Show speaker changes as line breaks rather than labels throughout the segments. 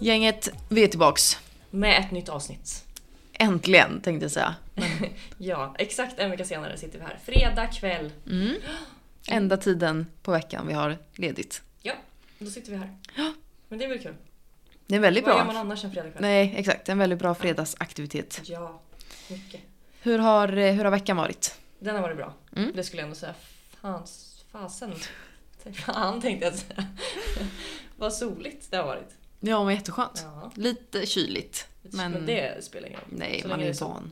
Gänget, vi är tillbaks.
Med ett nytt avsnitt.
Äntligen tänkte jag säga.
Ja, exakt en vecka senare sitter vi här. Fredag kväll.
Enda tiden på veckan vi har ledigt.
Ja, då sitter vi här. Men det är väl kul?
Det är väldigt
Vad gör man
bra.
annars en fredag kväll?
Nej, exakt. En väldigt bra fredagsaktivitet.
Ja, mycket.
Hur har, eh, hur har veckan varit?
Den har varit bra.
Mm.
Det skulle jag ändå säga. Fans, fasen. Fan tänkte jag säga. Vad soligt det har varit.
Ja, men jätteskönt.
Ja.
Lite kyligt.
Men,
Men
det spelar ingen roll.
nej,
så
man
länge
är
det
ju
är så.
van.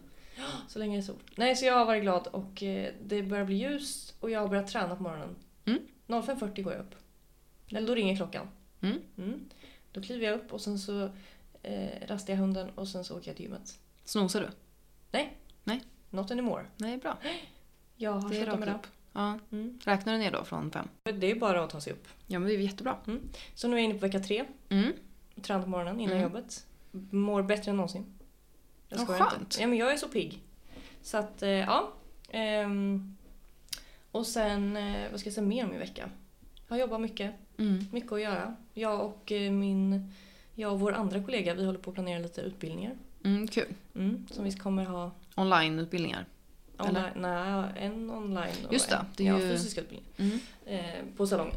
Så länge det är sol. Nej, så jag har varit glad och eh, det börjar bli ljust och jag har börjat träna på morgonen.
Mm.
05.40 går jag upp. Eller då ringer klockan.
Mm.
Då kliver jag upp och sen så eh, rastar jag hunden och sen så åker jag till gymmet.
Snosar du?
Not anymore.
Nej, bra.
Jag har
Det är
slutat med
rakt
det.
upp. Ja.
Mm.
Räknar du ner då från fem?
Men Det är bara att ta sig upp.
Ja, men det är ju jättebra.
Så nu är jag inne på vecka tre.
Mm.
Tränar på morgonen innan
Mm.
jobbet. Mår bättre än någonsin.
Vad
skojar
skönt.
Inte. Ja, men jag är så pigg. Så att, eh, ja. Ehm, och sen, eh, vad ska jag säga mer om min vecka? Jag har jobbat mycket.
Mm.
Mycket att göra. Jag och eh, min, jag och vår andra kollega, vi håller på att planera lite utbildningar.
Mm, kul.
Mm, som vi kommer ha
Onlineutbildningar. Eller?
online, nej, en online och
Just det,
en
det är
ja,
ju-
fysisk utbildning
Mm.
eh, på salongen.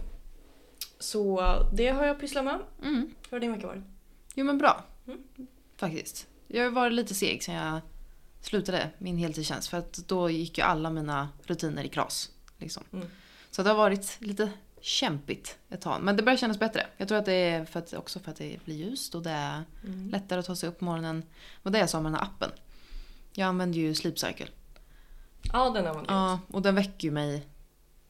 Så det har jag pysslat med.
Mm.
Hur har din vecka varit?
Jo men bra.
Mm.
Faktiskt. Jag har varit lite seg sen jag slutade min heltidstjänst. För att då gick ju alla mina rutiner i kras. Liksom.
Mm.
Så det har varit lite kämpigt ett tag. Men det börjar kännas bättre. Jag tror att det är för att, också för att det blir ljust och det
Mm.
är lättare att ta sig upp på morgonen. Och det jag sa med den här appen. Jag använder ju Sleep Cycle.
Ja, den har man
Ja, och den väcker ju mig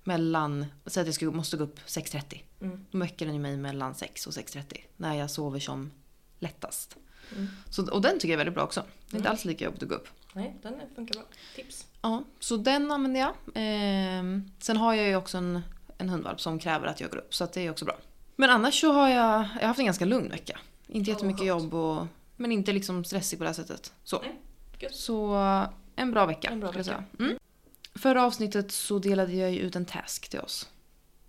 mellan, säg att jag ska, måste gå upp 6.30.
Mm.
Då väcker den ju mig mellan 6 och 6.30. När jag sover som lättast.
Mm.
Så, och den tycker jag är väldigt bra också. Det är inte
Mm.
alls lika jobbigt att gå upp.
Nej, den är- funkar bra. Tips.
Ja, så den använder jag. Ehm, sen har jag ju också en, en hundvalp som kräver att jag går upp. Så att det är också bra. Men annars så har jag, jag har haft en ganska lugn vecka. Inte
Ja, vad
jättemycket
skönt.
jobb och, men inte liksom stressig på det här sättet. Så.
Nej, gött.
så en bra vecka.
En bra
skulle jag
vecka.
säga. Mm. Förra avsnittet så delade jag ju ut en task till oss.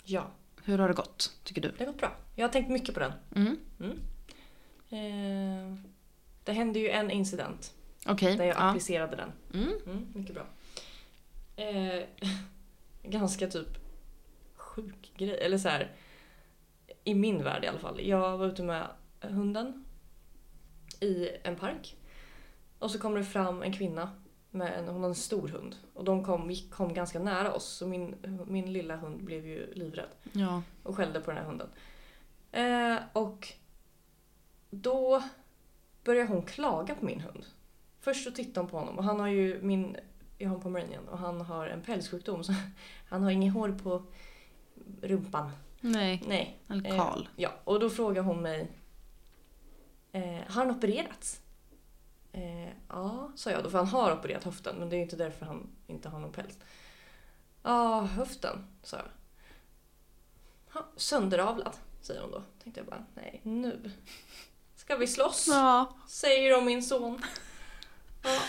Ja,
Hur har det gått, tycker du?
det har gått bra. Jag har tänkt mycket på den.
Mm.
Eh, det hände ju en incident
Okej.
där jag
Ja.
applicerade den.
Mm.
Mm, mycket bra. Eh, ganska typ sjuk grej. Eller så här. I min värld i alla fall. Jag var ute med hunden i en park. Och så kommer det fram en kvinna. Med en, hon har en stor hund. Och de kom, gick, kom ganska nära oss. Så min, min lilla hund blev ju livrädd
Ja.
och skällde på den här hunden. Eh, och då börjar hon klaga på min hund. Först så tittar hon på honom och han har ju min, jag har en pomeranian och han har en pälssjukdom så han har inget hår på rumpan.
Nej.
Nej.
Eller
Eh,
Karl.
Ja, och då frågar hon mig eh, Har han opererats? Eh, ja, sa jag då för han har opererat höften men det är ju inte därför han inte har någon päls. Ja, höften, sa jag. Ha, sönderavlad, säger hon då. Tänkte jag bara, nej nu ska vi slåss,
Ja.
säger om min son. Ja,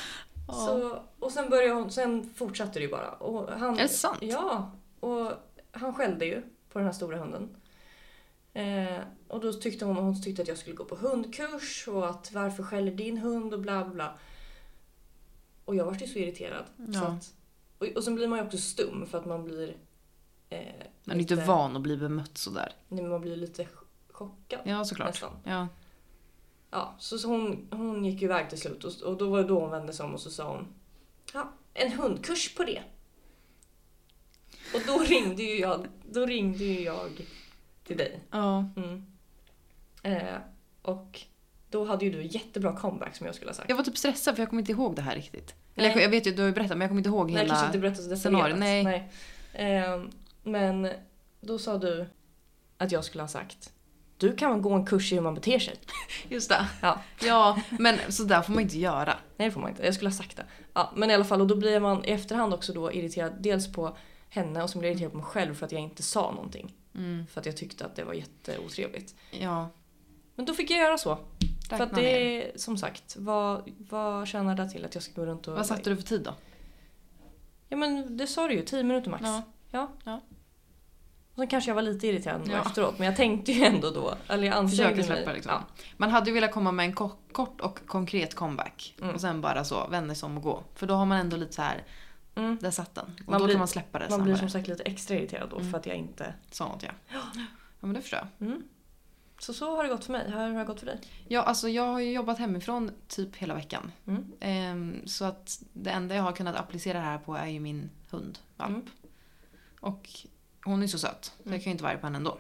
så, och sen började hon, sen fortsatte det ju bara. Och han,
Är det sant?
Ja, och han skällde ju på den här stora hunden. Eh, och då tyckte hon, hon tyckte att jag skulle gå på hundkurs och att varför skäller din hund och bla bla, bla. Och jag vart ju så irriterad. Så
Ja.
att, och, och sen blir man ju också stum för att man blir... Eh,
Man är inte
lite-
van att bli bemött sådär.
Nej, men man blir lite ch- chockad
Ja, såklart.
nästan.
Ja.
Ja, så, så hon, hon gick ju iväg till slut och, och då var det då hon vände sig om och så sa hon ja, en hundkurs på det. Och då ringde ju jag, då ringde ju jag till dig.
ja.
Mm. Eh, och då hade ju du en jättebra comeback som jag skulle ha sagt.
Jag var typ stressad för jag kommer inte ihåg det här riktigt. Eller jag,
Nej.
jag vet ju, du har ju berättat men jag kommer inte ihåg
Nej,
hela...
kanske inte berätta så detaljerat.
scenario, nej.
Eh, men då sa du att jag skulle ha sagt du kan gå en kurs i hur man beter sig.
Just det.
Ja.
Ja, men sådär får man inte göra.
Nej det får man inte, jag skulle ha sagt det. Ja, men i alla fall, och då blir man i efterhand också då irriterad dels på henne och sen blir jag irriterad på mig själv för att jag inte sa någonting.
Mm.
För att jag tyckte att det var jätteotrevligt.
Ja.
Men då fick jag göra så. För
räkna
att det är som sagt, vad, vad tjänar det till att jag ska gå runt och...
Vad satte du för tid då?
Ja men det sa du ju, 10 minuter max.
Ja.
Ja.
Ja.
Och sen kanske jag var lite irriterad ändå
Ja.
efteråt men jag tänkte ju ändå då. Eller jag ansträngde
Försöker
mig.
släppa liksom.
Ja.
Man hade ju velat komma med en ko- kort och konkret comeback.
Mm.
Och sen bara så, vänder sig om och gå. För då har man ändå lite så här,
Mm.
där satt den. Och
Man
då
blir-
kan man släppa det
Man blir
snabbare.
som sagt lite extra irriterad då
Mm.
för att jag inte...
Sånt ja. Ja men det förstår jag.
Mm. Så så har det gått för mig. Hur har det gått för dig?
Ja, alltså jag har ju jobbat hemifrån typ hela veckan.
Mm.
Ehm, så att det enda jag har kunnat applicera det här på är ju min hund, valp.
Mm.
Och hon är så söt, så
Mm.
jag kan ju inte vara arg på henne ändå.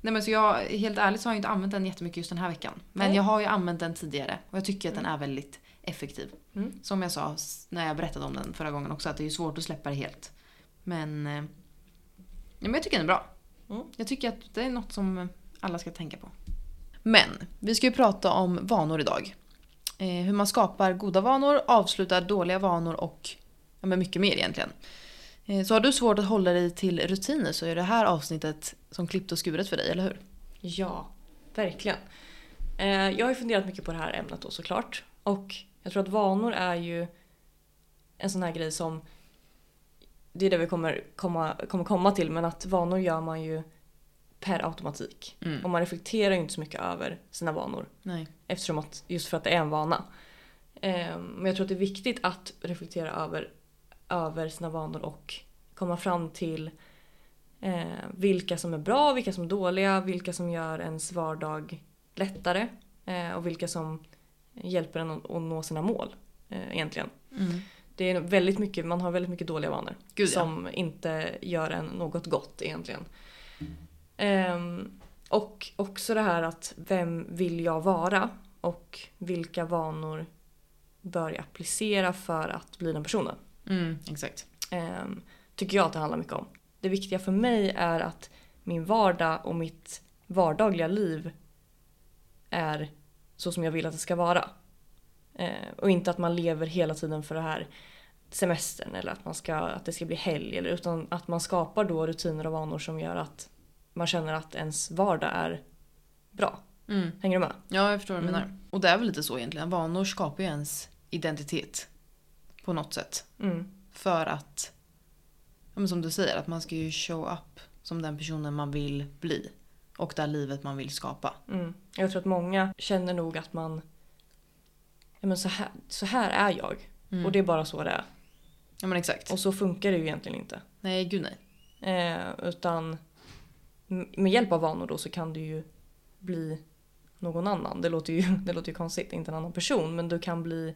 Nej men så jag, helt ärligt så har jag inte använt den jättemycket just den här veckan. Men
Nej.
jag har ju använt den tidigare och jag tycker att den är väldigt effektiv.
Mm.
Som jag sa s- när jag berättade om den förra gången också, att det är ju svårt att släppa det helt. Men, eh, ja, men jag tycker den är bra.
Mm.
Jag tycker att det är något som alla ska tänka på. Men, vi ska ju prata om vanor idag. Eh, hur man skapar goda vanor, avslutar dåliga vanor och ja, men mycket mer egentligen. Eh, så har du svårt att hålla dig till rutiner så är det här avsnittet som klippt och skuret för dig, eller hur?
Ja, verkligen. Eh, jag har ju funderat mycket på det här ämnet då såklart. Och jag tror att vanor är ju en sån här grej som... Det är det vi kommer komma, kommer komma till men att vanor gör man ju per automatik.
Mm.
Och man reflekterar ju inte så mycket över sina vanor.
Nej.
Eftersom att, just för att det är en vana. Eh, men jag tror att det är viktigt att reflektera över, över sina vanor och komma fram till eh, vilka som är bra, vilka som är dåliga, vilka som gör ens vardag lättare eh, och vilka som hjälper en att, att nå sina mål eh, egentligen.
Mm.
Det är väldigt mycket, man har väldigt mycket dåliga vanor
Gud ja.
som inte gör en något gott egentligen. Ehm, och också det här att vem vill jag vara och vilka vanor bör jag applicera för att bli den personen.
Mm, exakt.
Ehm, tycker jag att det handlar mycket om. Det viktiga för mig är att min vardag och mitt vardagliga liv är så som jag vill att det ska vara. Ehm, och inte att man lever hela tiden för det här semestern eller att, man ska, att det ska bli helg. Eller, utan att man skapar då rutiner och vanor som gör att man känner att ens vardag är bra.
Mm.
Hänger du med?
Ja, jag förstår vad du
Mm.
menar. Och det är väl lite så egentligen. Vanor skapar ju ens identitet. På något sätt.
Mm.
För att, ja, men som du säger, att man ska ju show up som den personen man vill bli. Och det här livet man vill skapa.
Mm. Jag tror att många känner nog att man... Ja, men så, här, så här är jag.
Mm.
Och det är bara så det är.
Ja men exakt.
Och så funkar det ju egentligen inte.
Nej, gud nej.
Eh, utan m- med hjälp av vanor då så kan du ju bli någon annan. Det låter ju, det låter ju konstigt, inte en annan person. Men du kan bli...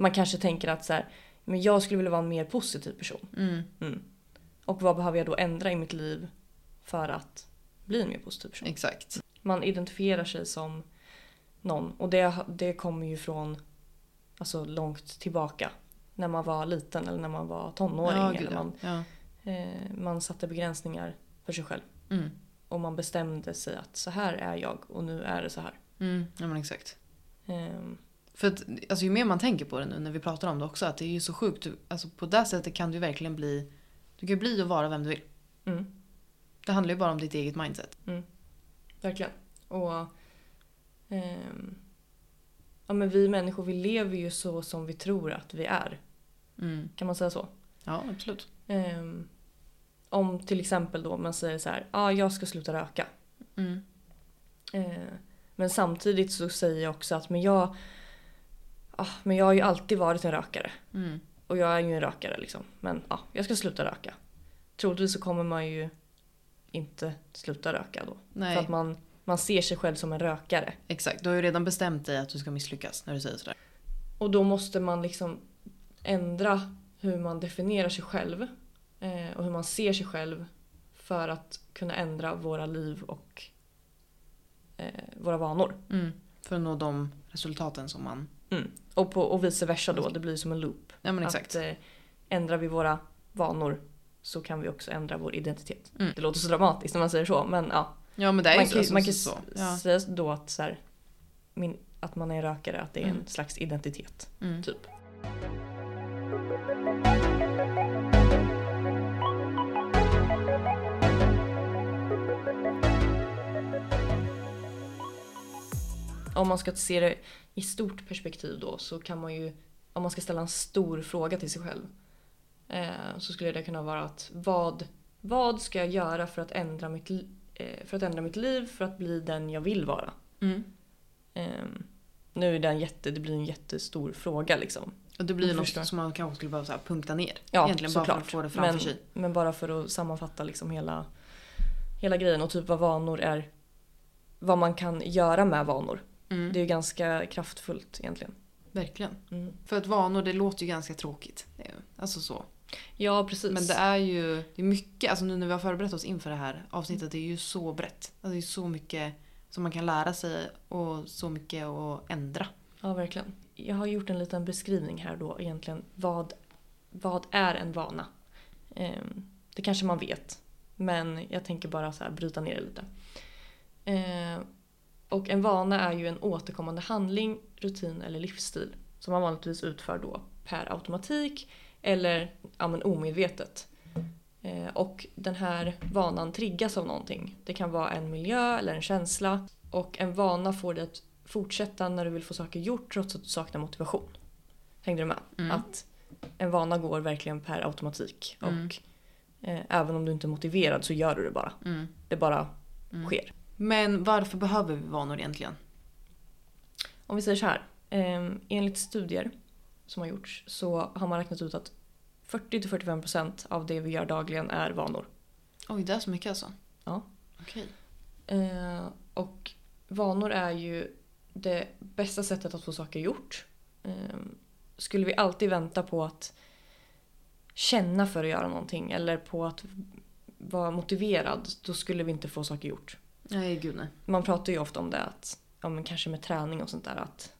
Man kanske tänker att så här, men jag skulle vilja vara en mer positiv person.
Mm.
Och vad behöver jag då ändra i mitt liv för att bli en mer positiv person?
Exakt.
Man identifierar sig som någon. Och det, det kommer ju från alltså, långt tillbaka. När man var liten eller när man var tonåring.
ja,
eller
ja.
man,
ja.
Eh, man satte begränsningar för sig själv
Mm.
och man bestämde sig att så här är jag och nu är det så här.
Mm. ja men exakt.
Eh,
För att alltså, ju mer man tänker på det nu när vi pratar om det också, att det är ju så sjukt. Du- Alltså, på det sättet kan du verkligen bli, du kan ju bli och vara vem du vill.
mm,
Det handlar ju bara om ditt eget mindset.
verkligen. Och ehm, ja, men vi människor vi lever ju så som vi tror att vi är.
Mm.
Kan man säga så?
Ja, absolut.
Ehm, om till exempel då man säger så här, ja ah, jag ska sluta röka.
Mm.
Eh, men samtidigt så säger jag också att men jag, ah, men jag har ju alltid varit en rökare.
Mm.
Och jag är ju en rökare liksom. Men ja, jag ska sluta röka. Troligtvis så kommer man ju inte sluta röka då. För
Nej,
att man, man ser sig själv som en rökare.
exakt. Du har ju redan bestämt dig att du ska misslyckas när du säger sådär.
Och då måste man liksom ändra hur man definierar sig själv. Eh, och hur man ser sig själv. För att kunna ändra våra liv och eh, våra vanor.
Mm. För att nå de resultaten som man...
Och, på, och vice versa då, det blir som en loop.
Ja men exakt.
Att eh, ändrar vi våra vanor så kan vi också ändra vår identitet.
Mm.
Det låter så dramatiskt när man säger så men ja.
Ja men det är
man
ju
kan,
så.
man
så,
kan
så.
s-
Ja.
säga då att, så här, min, att man är rökare, att det är en
Mm.
slags identitet.
Mm.
Typ. Om man ska se det i stort perspektiv då så kan man ju, om man ska ställa en stor fråga till sig själv eh, så skulle det kunna vara att vad Vad ska jag göra för att ändra mitt, li- eh, för att ändra mitt liv för att bli den jag vill vara?
Mm.
Ehm, nu är det, en jätte, det blir en jättestor fråga liksom.
Och det blir
Jag
något
förstår.
som man kanske skulle behöva så här punkta ner.
Ja,
Egentligen bara för
såklart.
att få det framför
Men,
sig.
men bara för att sammanfatta liksom hela, hela grejen och typ vad vanor är. Vad man kan göra med vanor.
Mm.
Det är ju ganska kraftfullt egentligen.
Verkligen.
Mm.
För att vanor det låter ju ganska tråkigt. Det är ju- Alltså så.
Ja precis.
Men det är ju det är mycket, alltså nu när vi har förberett oss inför det här avsnittet, det är ju så brett. Alltså det är så mycket som man kan lära sig och så mycket att ändra.
Ja verkligen. Jag har gjort en liten beskrivning här då egentligen. Vad, vad är en vana? Ehm, det kanske man vet. Men jag tänker bara så här bryta ner det lite. Ehm, och en vana är ju en återkommande handling, rutin eller livsstil. Som man vanligtvis utför då per automatik eller ja, men omedvetet. Ehm, och den här vanan triggas av någonting. Det kan vara en miljö eller en känsla. Och en vana får dig att fortsätta när du vill få saker gjort trots att du saknar motivation. Hängde du med?
Mm.
Att en vana går verkligen per automatik.
Mm.
Och eh, även om du inte är motiverad så gör du det bara.
Mm.
Det bara
Mm.
sker.
Men varför behöver vi vanor egentligen?
Om vi säger så här. Eh, enligt studier som har gjorts så har man räknat ut att 40-45% av det vi gör dagligen är vanor.
Oj, det är så mycket alltså?
Ja.
Okej.
Eh, och vanor är ju det bästa sättet att få saker gjort. Eh, skulle vi alltid vänta på att känna för att göra någonting eller på att vara motiverad, då skulle vi inte få saker gjort.
Nej, gud nej.
Man pratar ju ofta om det, att, ja, men kanske med träning och sånt där. Att,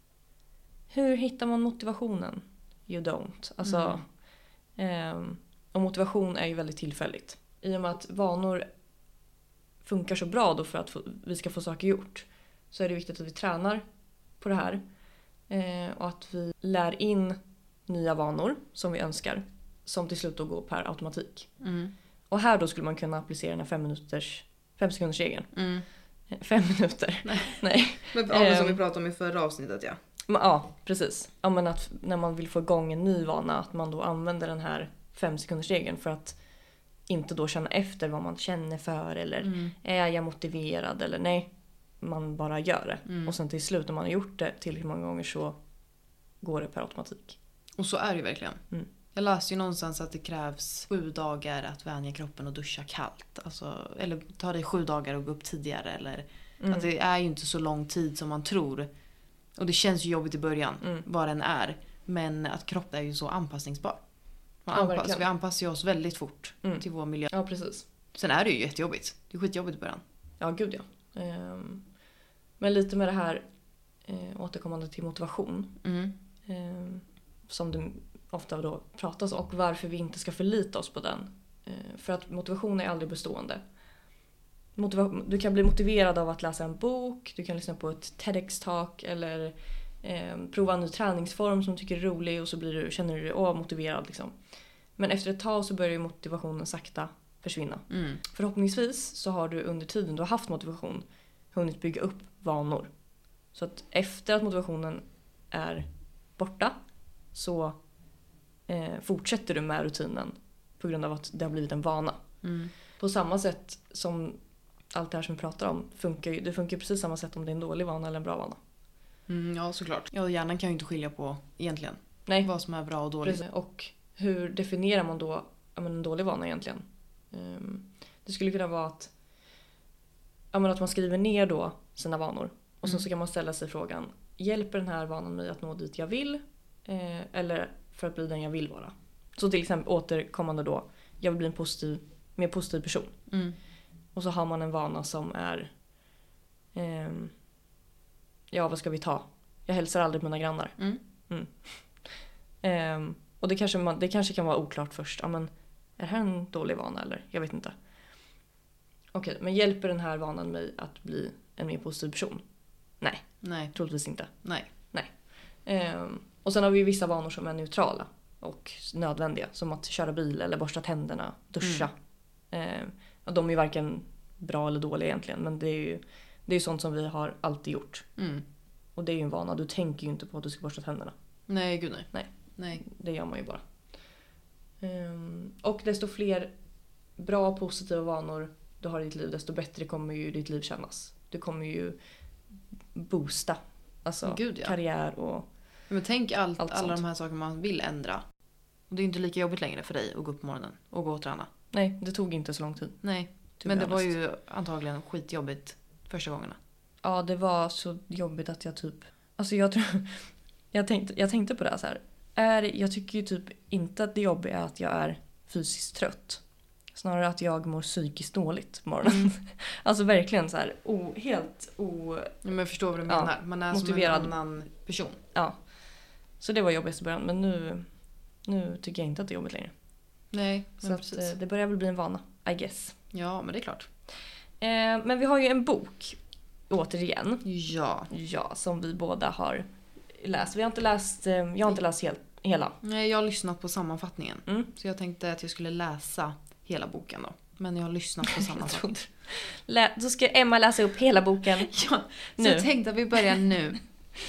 hur hittar man motivationen? You don't. Alltså, ehm, och motivation är ju väldigt tillfälligt. I och med att vanor funkar så bra då för att få, vi ska få saker gjort så är det viktigt att vi tränar på det här. Eh, och att vi lär in nya vanor som vi önskar. Som till slut då går per automatik.
Mm.
Och här då skulle man kunna applicera den här fem, minuters, fem sekunders regeln.
Mm.
Fem minuter.
Nej.
Nej.
Men,
ja, men som vi
pratade om i förra avsnittet ja.
Men, ja, precis. Ja, men att när man vill få igång en ny vana att man då använder den här fem sekunders regeln för att inte då känna efter vad man känner för eller
Mm.
är jag motiverad eller nej. Man bara gör det.
Mm.
Och sen till slut när man har gjort det tillräckligt många gånger så går det per automatik.
Och så är det ju verkligen.
Mm.
Jag läste ju någonstans att det krävs sju dagar att vänja kroppen och duscha kallt. Alltså, eller ta dig sju dagar och gå upp tidigare. Eller,
Mm.
Att det är ju inte så lång tid som man tror. Och det känns ju jobbigt i början,
Mm.
vad den är. Men att kroppen är ju så anpassningsbar. Man
Ja,
anpass,
verkligen.
vi anpassar ju oss väldigt fort
Mm.
till vår miljö.
Ja, precis.
Sen är det ju jättejobbigt. Det är skitjobbigt i början.
Ja, gud ja. Ehm, Men lite med det här eh, återkommande till motivation.
Mm.
eh, som det ofta då pratas om och varför vi inte ska förlita oss på den. Eh, för att motivation är aldrig bestående. Motiva- du kan bli motiverad av att läsa en bok, du kan lyssna på ett TEDx-talk eller eh, prova en ny träningsform som du tycker är rolig och så blir du, känner du dig åh, motiverad. Liksom. Men efter ett tag så börjar ju motivationen sakta försvinna.
Mm.
Förhoppningsvis så har du under tiden du har haft motivation hunnit bygga upp vanor. Så att efter att motivationen är borta så eh, fortsätter du med rutinen på grund av att det har blivit en vana.
Mm.
På samma sätt som allt det här som vi pratar om funkar ju, det funkar ju precis samma sätt om det är en dålig vana eller en bra vana.
Mm, ja, såklart. Ja, och hjärnan kan ju inte skilja på egentligen
Nej,
vad som är bra och dåligt.
Precis. Och hur definierar man då ja, men en dålig vana egentligen? Ehm, det skulle kunna vara att, ja, men att man skriver ner då sina vanor. Och sen
Mm.
så kan man ställa sig frågan, hjälper den här vanan mig att nå dit jag vill? Eh, eller för att bli den jag vill vara? Så till exempel återkommande då, jag vill bli en positiv, mer positiv person.
Mm.
Och så har man en vana som är... ehm, ja, vad ska vi ta? Jag hälsar aldrig på mina grannar.
Mm.
Mm. Ehm, och det kanske, man, det kanske kan vara oklart först. Ja, men, är det här en dålig vana eller? Jag vet inte. Okej, men hjälper den här vanan mig att bli en mer positiv person?
Nej,
Troligtvis inte.
nej.
Ehm, och sen har vi ju vissa vanor som är neutrala och nödvändiga. Som att köra bil eller borsta tänderna, duscha. Ehm, och de är ju varken bra eller dåliga egentligen. Men det är ju det är ju sånt som vi har alltid gjort.
Mm.
Och det är ju en vana. Du tänker ju inte på att du ska borsta tänderna.
Nej, gud nej.
Nej.
Nej.
Det gör man ju bara. Ehm, och desto fler bra positiva vanor du har i ditt liv desto bättre kommer ju ditt liv kännas. Du kommer ju boosta alltså
Gud, ja.
karriär och
Men tänk allt,
Allt
alla
sånt.
de här sakerna man vill ändra. Och det är inte lika jobbigt längre för dig att gå upp på morgonen och gå och träna.
nej det tog inte så lång tid.
Nej,
to
men
be
det var
honest.
ju antagligen skitjobbigt första gångerna.
Ja, det var så jobbigt att jag typ... Alltså jag tror... Jag tänkte, jag tänkte på det här så här. Är, jag tycker ju typ inte att det jobbiga är att jag är fysiskt trött. Snarare att jag mår psykiskt dåligt på morgonen. Alltså verkligen så här o, helt o...
Ja, Men jag förstår vad du
Ja,
menar. man är
motiverad.
som en annan person.
Ja. Så det var jobbigast i början men nu, nu tycker jag inte att det är jobbigt längre.
Nej,
Så att, eh, det börjar väl bli en vana, I guess.
Ja, men det är klart.
Eh, men vi har ju en bok, återigen.
Ja.
Ja, som vi båda har läst. Vi har inte läst, eh, jag har inte läst hel, hela.
Nej, jag har lyssnat på sammanfattningen.
Mm.
Så jag tänkte att jag skulle läsa hela boken då. Men jag har lyssnat på sammanfattningen.
Lä, då ska Emma läsa upp hela boken.
ja, så
Nu.
jag tänkte att vi börjar nu.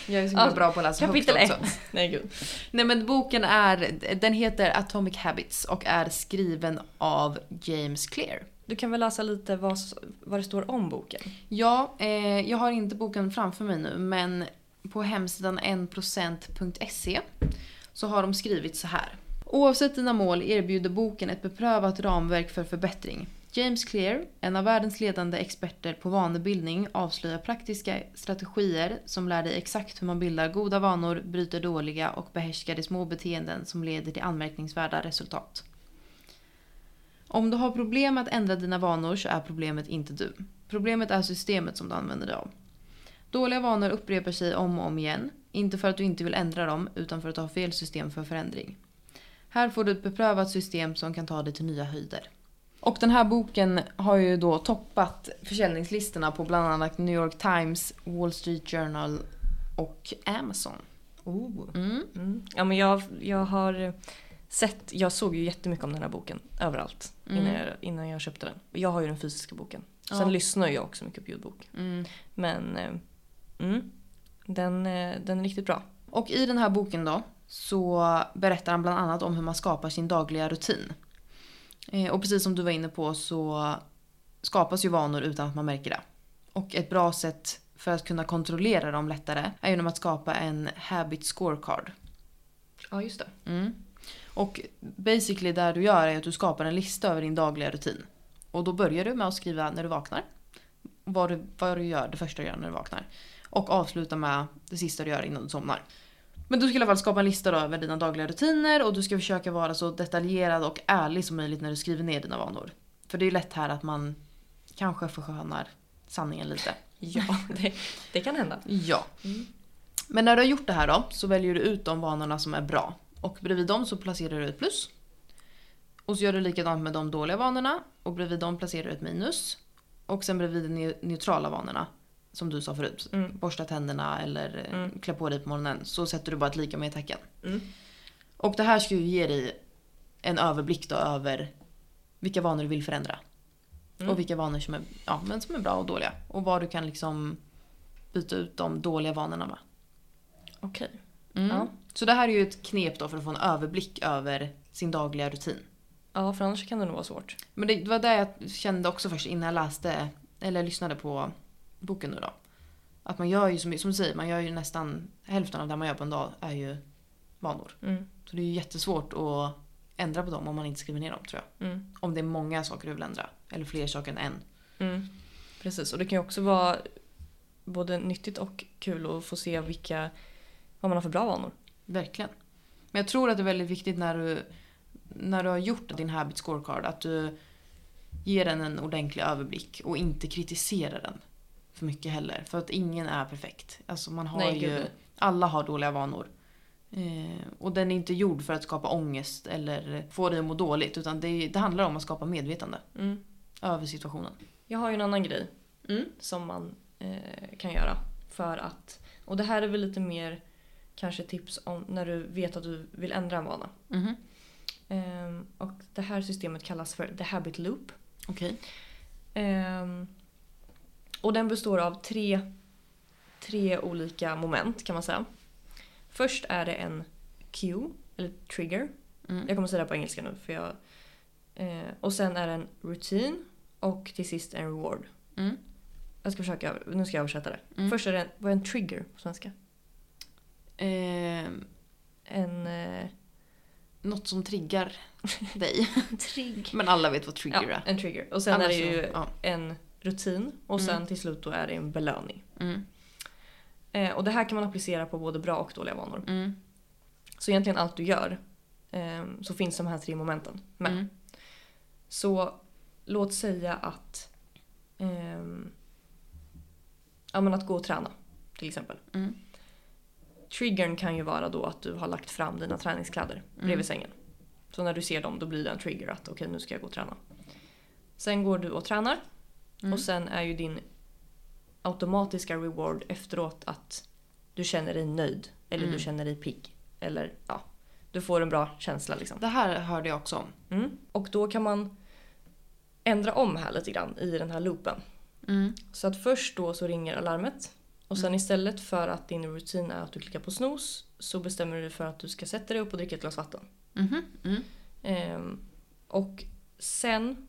Jag är så himla
Ja,
bra på att läsa
Kapitel
högt
1.
också.
Nej gud.
Nej men boken är, den heter Atomic Habits och är skriven av James Clear.
Du kan väl läsa lite vad, s- vad det står om boken?
Ja, eh, jag har inte boken framför mig nu men på hemsidan 1%.se så har de skrivit så här. Oavsett dina mål erbjuder boken ett beprövat ramverk för förbättring. James Clear, en av världens ledande experter på vanebildning, avslöjar praktiska strategier som lär dig exakt hur man bildar goda vanor, bryter dåliga och behärskar de små beteenden som leder till anmärkningsvärda resultat. Om du har problem att ändra dina vanor så är problemet inte du. Problemet är systemet som du använder dig av. Dåliga vanor upprepar sig om och om igen. Inte för att du inte vill ändra dem, utan för att du har fel system för förändring. Här får du ett beprövat system som kan ta dig till nya höjder. Och den här boken har ju då toppat försäljningslistorna på bland annat New York Times, Wall Street Journal och Amazon.
Oh.
Mm.
Mm. Ja men jag, jag har sett, jag såg ju jättemycket om den här boken överallt
Mm.
innan, jag, innan jag köpte den. Jag har ju den fysiska boken. Sen
Ja.
lyssnar ju jag också mycket på ljudbok. Men eh, mm, den, eh, den är riktigt bra.
Och i den här boken då så berättar han bland annat om hur man skapar sin dagliga rutin. Eh, Och precis som du var inne på så skapas ju vanor utan att man märker det. Och ett bra sätt för att kunna kontrollera dem lättare är genom att skapa en habit scorecard.
Ja just det.
Mm. Och basically det du gör är att du skapar en lista över din dagliga rutin. Och då börjar du med att skriva när du vaknar. Vad du, vad du gör, det första du gör när du vaknar. Och avsluta med det sista du gör innan du somnar. Men du ska i alla fall skapa en lista då över dina dagliga rutiner och du ska försöka vara så detaljerad och ärlig som möjligt när du skriver ner dina vanor. För det är ju lätt här att man kanske förskönar sanningen lite.
Ja det, det kan hända.
Ja. Mm. Men när du har gjort det här då så väljer du ut de vanorna som är bra. Och bredvid dem så placerar du ett plus. Och så gör du likadant med de dåliga vanorna och bredvid dem placerar du ett minus. Och sen bredvid de ne- neutrala vanorna, som du sa förut,
Mm.
borsta tänderna eller eh,
Mm.
klä på dig på morgonen, så sätter du bara ett lika med tecken.
Mm.
Och det här ska ju ge dig en överblick då över vilka vanor du vill förändra.
Mm.
Och vilka vanor som är, ja, men som är bra och dåliga. Och vad du kan liksom byta ut de dåliga vanorna med.
Okej. Ja.
Ja. Så det här är ju ett knep då för att få en överblick över sin dagliga rutin.
Ja, för annars kan det nog vara svårt.
Men det var det jag kände också först innan jag läste, eller lyssnade på boken nu då. Att man gör ju, som som du säger, man gör ju nästan hälften av det man gör på en dag är ju vanor.
Mm,
Så det är ju jättesvårt att ändra på dem om man inte skriver ner dem tror jag.
Mm.
Om det är många saker du vill ändra. Eller fler saker än en.
Mm. Precis, och det kan ju också vara både nyttigt och kul att få se vilka, vad man har för bra vanor.
Verkligen. Men jag tror att det är väldigt viktigt när du, när du har gjort din habit scorecard att du ger den en ordentlig överblick och inte kritiserar den för mycket heller. För att ingen är perfekt. Alltså man har
Nej,
ju,
gud, nej.
alla har dåliga vanor. Eh, och den är inte gjord för att skapa ångest eller få dig att må dåligt utan det, det handlar om att skapa medvetande över situationen.
Mm. Jag har ju en annan grej
Mm.
som man eh, kan göra för att, och det här är väl lite mer kanske tips om när du vet att du vill ändra en vana.
Mhm.
Ehm, och det här systemet kallas för the habit loop.
Okej.
Ehm, och den består av tre, tre olika moment kan man säga. Först är det en cue, eller trigger.
Mm.
Jag kommer säga det här på engelska nu för jag Eh, och sen är det en rutin och till sist en reward.
Mm.
Jag ska försöka, över- nu ska jag översätta det.
Mm.
Först är det en, vad är en trigger på svenska?
Eh,
En eh,
något som triggar dig.
trigger.
Men alla vet vad trigger
Ja,
är.
en trigger. Och sen
Annars
är det ju
så- Ja.
en rutin och sen
Mm.
till slut då är det en belöning.
Mm,
Eh, och det här kan man applicera på både bra och dåliga vanor.
mm,
Så egentligen allt du gör eh, så finns de här tre momenten med.
mm,
Så låt säga att... ehm, ja men att gå och träna till exempel.
Mm.
Triggern kan ju vara då att du har lagt fram dina träningskläder bredvid
Mm.
sängen. Så när du ser dem då blir det en trigger att okej nu ska jag gå och träna. Sen går du och tränar
mm.
och sen är ju din automatiska reward efteråt att du känner dig nöjd eller
Mm.
du känner dig pigg. Eller ja, du får en bra känsla liksom.
Det här hörde jag också om.
Mm. Och då kan man ändra om här lite grann i den här loopen.
Mm,
Så att först då så ringer alarmet och sen istället för att din rutin är att du klickar på snooze så bestämmer du dig för att du ska sätta dig upp och dricka ett glas vatten.
mhm, mm,
Ehm, och sen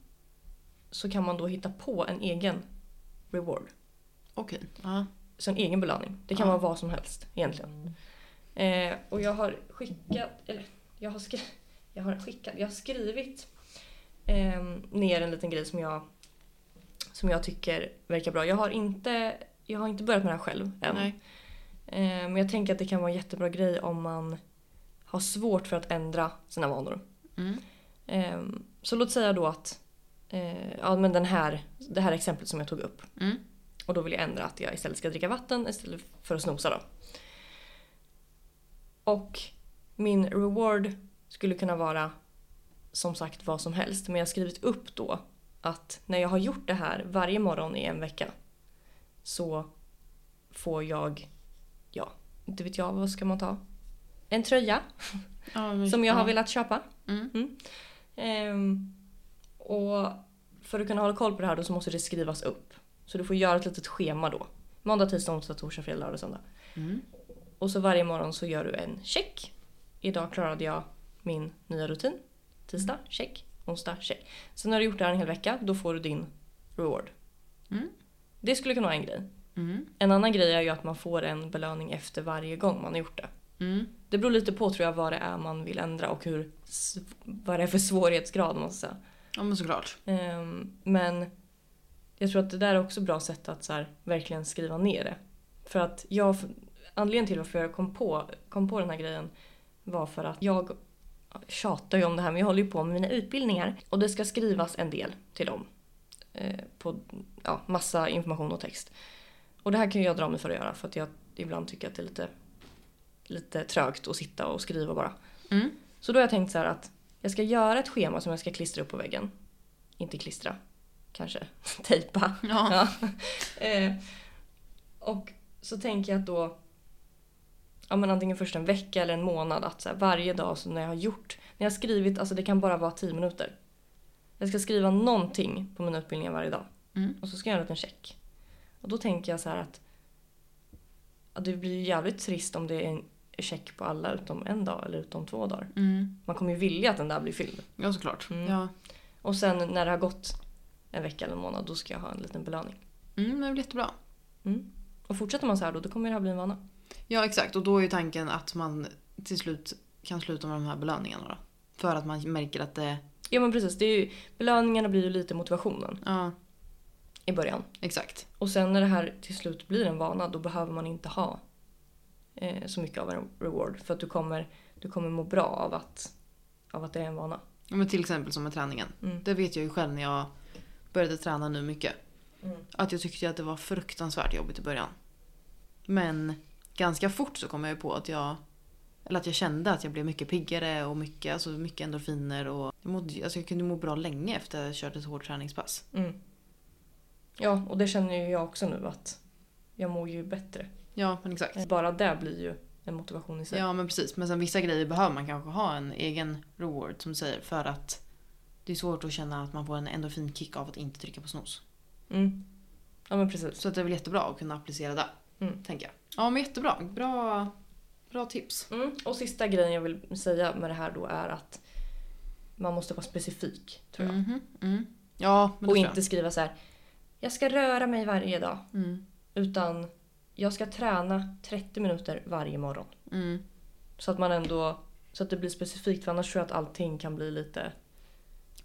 så kan man då hitta på en egen reward.
Okej. Ja.
Så en egen belöning. Det kan
Ja.
vara vad som helst egentligen. Eh, och jag har skickat, eller jag har, skri- jag har, skickat, jag har skrivit eh, ner en liten grej som jag, som jag tycker verkar bra. Jag har inte, jag har inte börjat med det här själv än.
Nej.
Eh, men jag tänker att det kan vara en jättebra grej om man har svårt för att ändra sina vanor.
Mm,
Eh, så låt säga då att eh, ja, men den här, det här exemplet som jag tog upp.
mm,
Och då vill jag ändra att jag istället ska dricka vatten istället för att snosa då. Och min reward skulle kunna vara som sagt vad som helst. Men jag har skrivit upp då att när jag har gjort det här varje morgon i en vecka så får jag, ja, inte vet jag, vad ska man ta? En tröja
Ja, men-
som jag har
ja.
velat köpa.
Mm,
Ehm, och för att kunna hålla koll på det här då så måste det skrivas upp. Så du får göra ett litet schema då. Måndag, tisdag, onsdag, torsdag, fredag, lördag, söndag.
mm,
Och så varje morgon så gör du en check. Idag klarade jag min nya rutin. Tisdag,
Mm.
check. Onsdag, check. Sen när du gjort det här en hel vecka, då får du din reward.
Mm.
Det skulle kunna vara en grej.
mm,
En annan grej är ju att man får en belöning efter varje gång man har gjort det.
mm,
Det beror lite på tror jag vad det är man vill ändra och hur, sv- vad det är för svårighetsgrad man ska säga.
ja men såklart.
Ehm, men jag tror att det där är också bra sätt att så här, verkligen skriva ner det. För att jag, anledningen till varför jag kom på, kom på den här grejen var för att jag tjatar ju om det här men jag håller ju på med mina utbildningar och det ska skrivas en del till dem. Eh, på ja, massa information och text. Och det här kan ju jag dra mig för att göra för att jag ibland tycker att det är lite, lite trögt att sitta och skriva bara.
Mm,
Så då har jag tänkt så här att jag ska göra ett schema som jag ska klistra upp på väggen. Inte klistra, kanske tejpa.
ja.
Ja. Eh, och så tänker jag att då ja, men antingen först en vecka eller en månad att så här, varje dag så när jag har gjort, när jag har skrivit, alltså det kan bara vara 10 minuter. Jag ska skriva någonting på mina utbildningar varje dag
Mm.
och så ska jag göra en liten check. Och då tänker jag så här att ja, det blir ju jävligt trist om det är en check på alla utom en dag eller utom två dagar.
Mm,
Man kommer ju vilja att den där blir fylld.
ja såklart.
Mm.
Ja.
Och sen när det har gått en vecka eller en månad då ska jag ha en liten belöning.
Mm, men det blir jättebra.
Mm. Och fortsätter man så här då, då kommer det här bli en vana.
Ja exakt och då är ju tanken att man till slut kan sluta med de här belöningarna då. För att man märker att det...
Ja men precis, det är ju, belöningarna blir ju lite motivationen
Ja,
i början.
exakt.
Och sen när det här till slut blir en vana då behöver man inte ha eh, så mycket av en reward. För att du kommer, du kommer må bra av att, av att det är en vana.
Ja, Men till exempel som med träningen.
Mm.
Det vet jag ju själv när jag började träna nu mycket.
Mm.
Att jag tyckte att det var fruktansvärt jobbigt i början. Men ganska fort så kom jag ju på att jag... Eller att jag kände att jag blev mycket piggare och mycket, alltså mycket endorfiner. Och jag, mådde, alltså jag kunde må bra länge efter att jag körde ett hårt träningspass.
Mm. Ja, och det känner ju jag också nu att jag mår ju bättre.
Ja, men exakt.
Bara det blir ju en motivation i sig.
Ja men precis. Men sen vissa grejer behöver man kanske ha en egen reward som du säger för att det är svårt att känna att man får en endorfinkick av att inte trycka på snus.
Mm. Ja men precis.
Så att det är väl jättebra att kunna applicera det.
Mm.
Tänker jag. Ja men jättebra. Bra, bra tips.
Mm. Och sista grejen jag vill säga med det här då är att Man måste vara specifik tror jag.
Mhm, mm. Ja, men det
och
tror jag.
inte skriva så här. Jag ska röra mig varje dag.
Mm.
Utan jag ska träna 30 minuter varje morgon.
Mm.
Så att man ändå så att det blir specifikt för annars tror jag att allting kan bli lite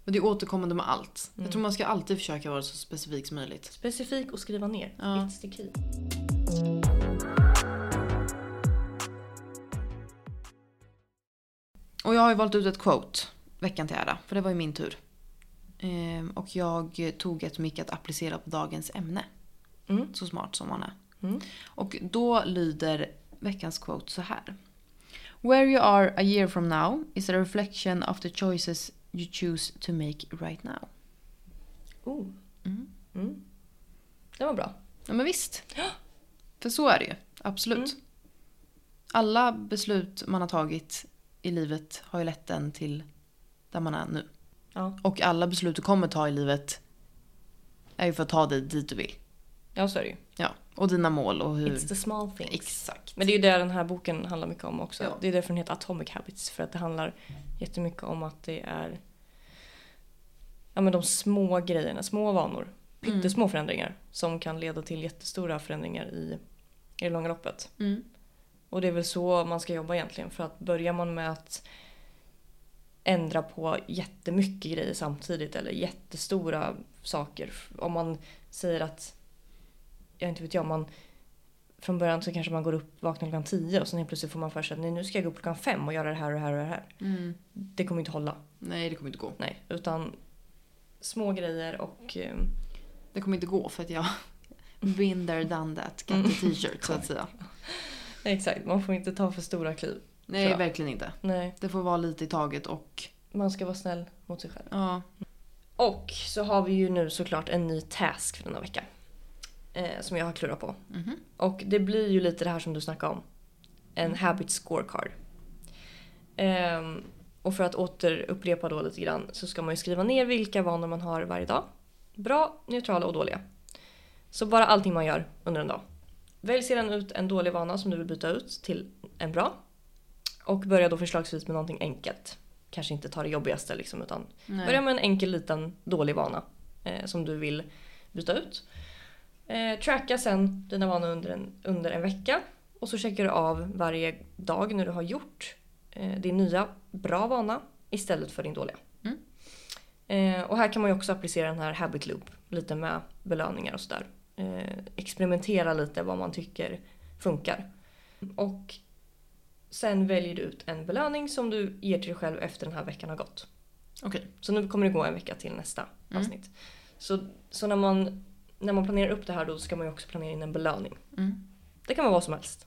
Men det är återkommande med allt.
Mm.
Jag tror man ska alltid försöka vara så specifik som möjligt.
specifik och skriva ner.
Ja.
It's the key.
Och jag har ju valt ut ett quote veckan till ära, för det var ju min tur. Ehm, och jag tog ett mycket att applicera på dagens ämne.
Mm.
Så smart som man är.
Mm.
Och då lyder veckans quote så här. Where you are a year from now is a reflection of the choices you choose to make right now.
Oh.
Mm.
Mm. Det var bra.
Ja men visst. För så är det ju. Absolut.
Mm.
Alla beslut man har tagit i livet har ju lett en till där man är nu.
Ja,
Och alla beslut du kommer ta i livet är ju för att ta dig dit du vill.
ja så är det ju.
Ja. Och dina mål och hur...
It's the small things.
Mm. Exakt.
Men det är ju det den här boken handlar mycket om också.
Ja.
Det är därför den heter Atomic Habits. För att det handlar jättemycket om att det är ja, men de små grejerna, små vanor.
Mm.
Pyttesmå förändringar som kan leda till jättestora förändringar i, i det långa loppet.
Mm.
Och det är väl så man ska jobba egentligen. För att börjar man med att ändra på jättemycket grejer samtidigt eller jättestora saker. Om man säger att, jag inte vet jag, man från början så kanske man går upp, vaknar klockan 10 och sen helt plötsligt får man för sig att nej, nu ska jag gå upp klockan 5 och göra det här och det här och det här.
Mm.
Det kommer inte hålla.
Nej, det kommer inte gå.
Nej, utan små grejer och eh,
Det kommer inte gå för att jag... Been there, done that.
Mm.
Got the t-shirt så att säga.
exakt, man får inte ta för stora kliv.
Nej,
Tror jag.
verkligen inte.
Nej,
Det får vara lite i taget och...
man ska vara snäll mot sig själv.
Ja.
Och så har vi ju nu såklart en ny task för denna vecka. Eh, som jag har klurat på.
Mhm.
Och det blir ju lite det här som du snackade om. En habit scorecard. Ehm, och för att återupprepa då lite grann så ska man ju skriva ner vilka vanor man har varje dag. Bra, neutrala och dåliga. Så bara allting man gör under en dag. Välj sedan ut en dålig vana som du vill byta ut till en bra. Och börja då förslagsvis med någonting enkelt. Kanske inte ta det jobbigaste liksom utan
Nej.
Börja med en enkel liten dålig vana eh, som du vill byta ut. Eh, tracka sen dina vanor under en, under en vecka och så checkar du av varje dag när du har gjort eh, din nya bra vana istället för din dåliga.
Mm.
Eh, och här kan man ju också applicera den här habit loop lite med belöningar och sådär. Eh, experimentera lite vad man tycker funkar. Och sen väljer du ut en belöning som du ger till dig själv efter den här veckan har gått.
Okej.
Så nu kommer det gå en vecka till nästa
Mm.
avsnitt. Så, så när, man, när man planerar upp det här då ska man ju också planera in en belöning.
Mm.
Det kan vara vad som helst.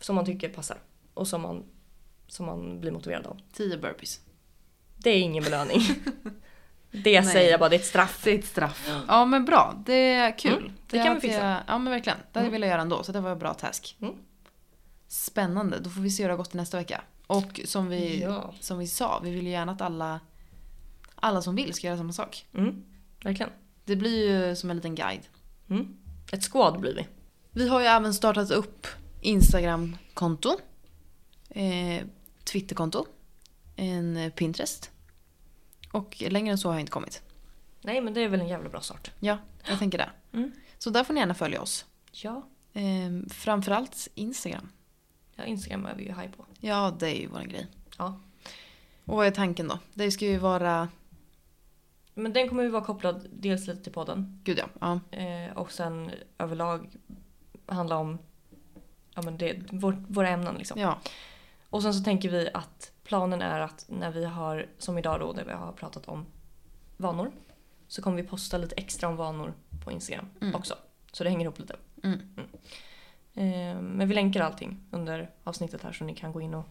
Som man tycker passar. Och som man, som man blir motiverad av.
Tio burpees.
Det är ingen belöning. det jag
Nej.
säger jag bara, det är ett straff.
Det är ett straff. Ja men bra, det är kul.
Mm, det kan vi
hade
fixa.
jag- Ja men verkligen, det hade jag
Mm.
velat göra ändå så det var en bra task.
Mm.
Spännande, då får vi se hur det har gått nästa vecka. Och som vi,
Ja.
som vi sa, vi vill ju gärna att alla, alla som vill ska göra samma sak.
Mm, verkligen.
Det blir ju som en liten guide.
Mm. Ett squad blir vi.
Vi har ju även startat upp Instagram-konto. Eh, Twitter-konto. En eh, Pinterest. Och längre än så har jag inte kommit.
Nej men det är väl en jävla bra start.
Ja, jag tänker det.
Mm.
Så där får ni gärna följa oss.
Ja,
Ehm, framförallt Instagram.
ja Instagram är vi ju high på.
Ja, det är ju vår grej.
Ja.
Och vad är tanken då? Det ska ju vara...
Men den kommer ju vara kopplad dels lite till podden.
Gud ja. ja.
Eh, och sen överlag handla om ja, men det, vår, våra ämnen. Liksom.
ja.
Och sen så tänker vi att planen är att när vi har, som idag då, där vi har pratat om vanor. Så kommer vi posta lite extra om vanor på Instagram
Mm.
också. Så det hänger ihop lite.
Mm.
Eh, men vi länkar allting under avsnittet här så ni kan gå in och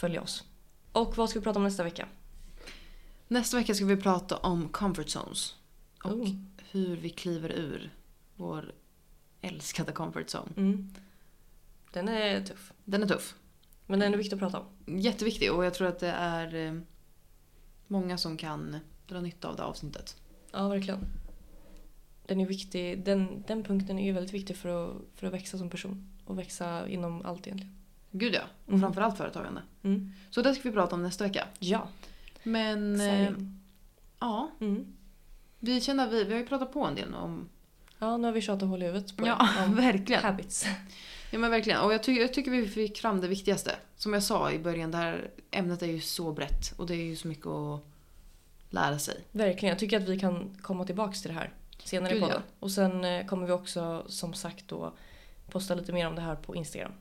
följa oss. Och vad ska vi prata om nästa vecka?
Nästa vecka ska vi prata om comfort zones. Och
Oh.
hur vi kliver ur vår älskade comfort zone.
Mm. Den är tuff.
Den är tuff.
Men den är viktig att prata om.
Jätteviktig och jag tror att det är eh, många som kan dra nytta av det avsnittet.
Ja, verkligen. Den, är viktig. Den, den punkten är ju väldigt viktig för att, för att växa som person. Och växa inom allt egentligen.
Gud ja. Och
Mm.
framförallt företagande.
Mm.
Så det ska vi prata om nästa vecka.
Ja.
Men eh,
Exciting.
ja,
Mm.
vi känner att vi, vi har ju pratat på en del nu om...
Ja, nu har vi tjatat hål i huvudet på
Ja,
er om
verkligen.
habits.
Ja men verkligen. Och jag, ty- jag tycker vi fick fram det viktigaste. Som jag sa i början, det här ämnet är ju så brett och det är ju så mycket att lära sig.
Verkligen, jag tycker att vi kan komma tillbaka till det här senare i
Gud, ja.
podden. Och sen eh, kommer vi också som sagt då posta lite mer om det här på Instagram.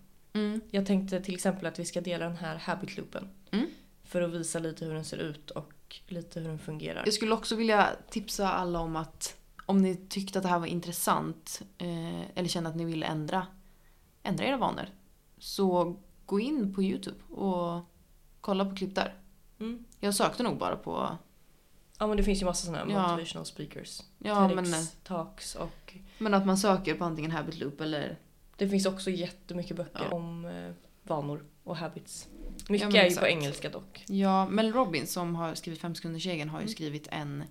Jag tänkte till exempel att vi ska dela den här habit-loopen.
Mm.
För att visa lite hur den ser ut och lite hur den fungerar.
Jag skulle också vilja tipsa alla om att om ni tyckte att det här var intressant eh, eller kände att ni ville ändra, ändra era vanor. Så gå in på Youtube och kolla på klipp där.
Mm.
Jag sökte nog bara på
Ja men det finns ju massa sådana här
Ja.
motivational speakers.
ja, men, eh,
TEDx, talks och
men att man söker på antingen Habit Loop eller
det finns också jättemycket böcker
Ja.
om eh, vanor och habits. Mycket
men
är ju på
exakt.
engelska dock.
Ja, Mel Robbins som har skrivit Fem sekunders regeln
Mm.
har ju skrivit en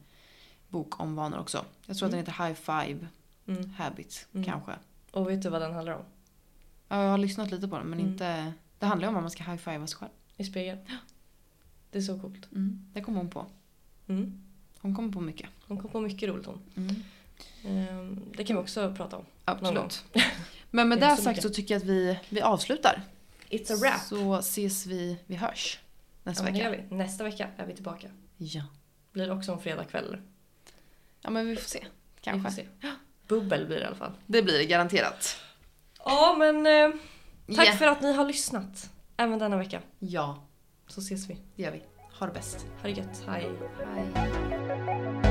bok om vanor också. Jag tror att den heter High Five
Mm.
Habits
Mm.
kanske.
Och vet du vad den handlar om?
Ja, jag har lyssnat lite på den men
Mm.
inte... Det handlar ju om att man ska high fiva sig själv.
I spegeln. Det är så coolt.
Det kom hon på.
Mm.
Hon kom på mycket.
Hon kom på mycket roligt hon. Ehm, Det kan vi också prata om. Mm. Någon
Absolut. Men med
Det är
det
så
sagt
mycket.
så tycker jag att vi, vi avslutar.
It's a wrap!
Så ses vi, vi hörs nästa
Ja, men det
vecka.
gör vi. Nästa vecka är vi tillbaka.
Ja.
Blir det också en fredagkväll? eller?
ja, men vi får se.
Vi får
Kanske.
se. Bubbel blir det i alla fall.
Det blir det garanterat.
Ja men eh, tack
Ja.
för att ni har lyssnat. Även denna vecka.
Ja,
Så ses vi.
det gör vi. Ha det bäst.
Ha det gött. Hej.
Hej.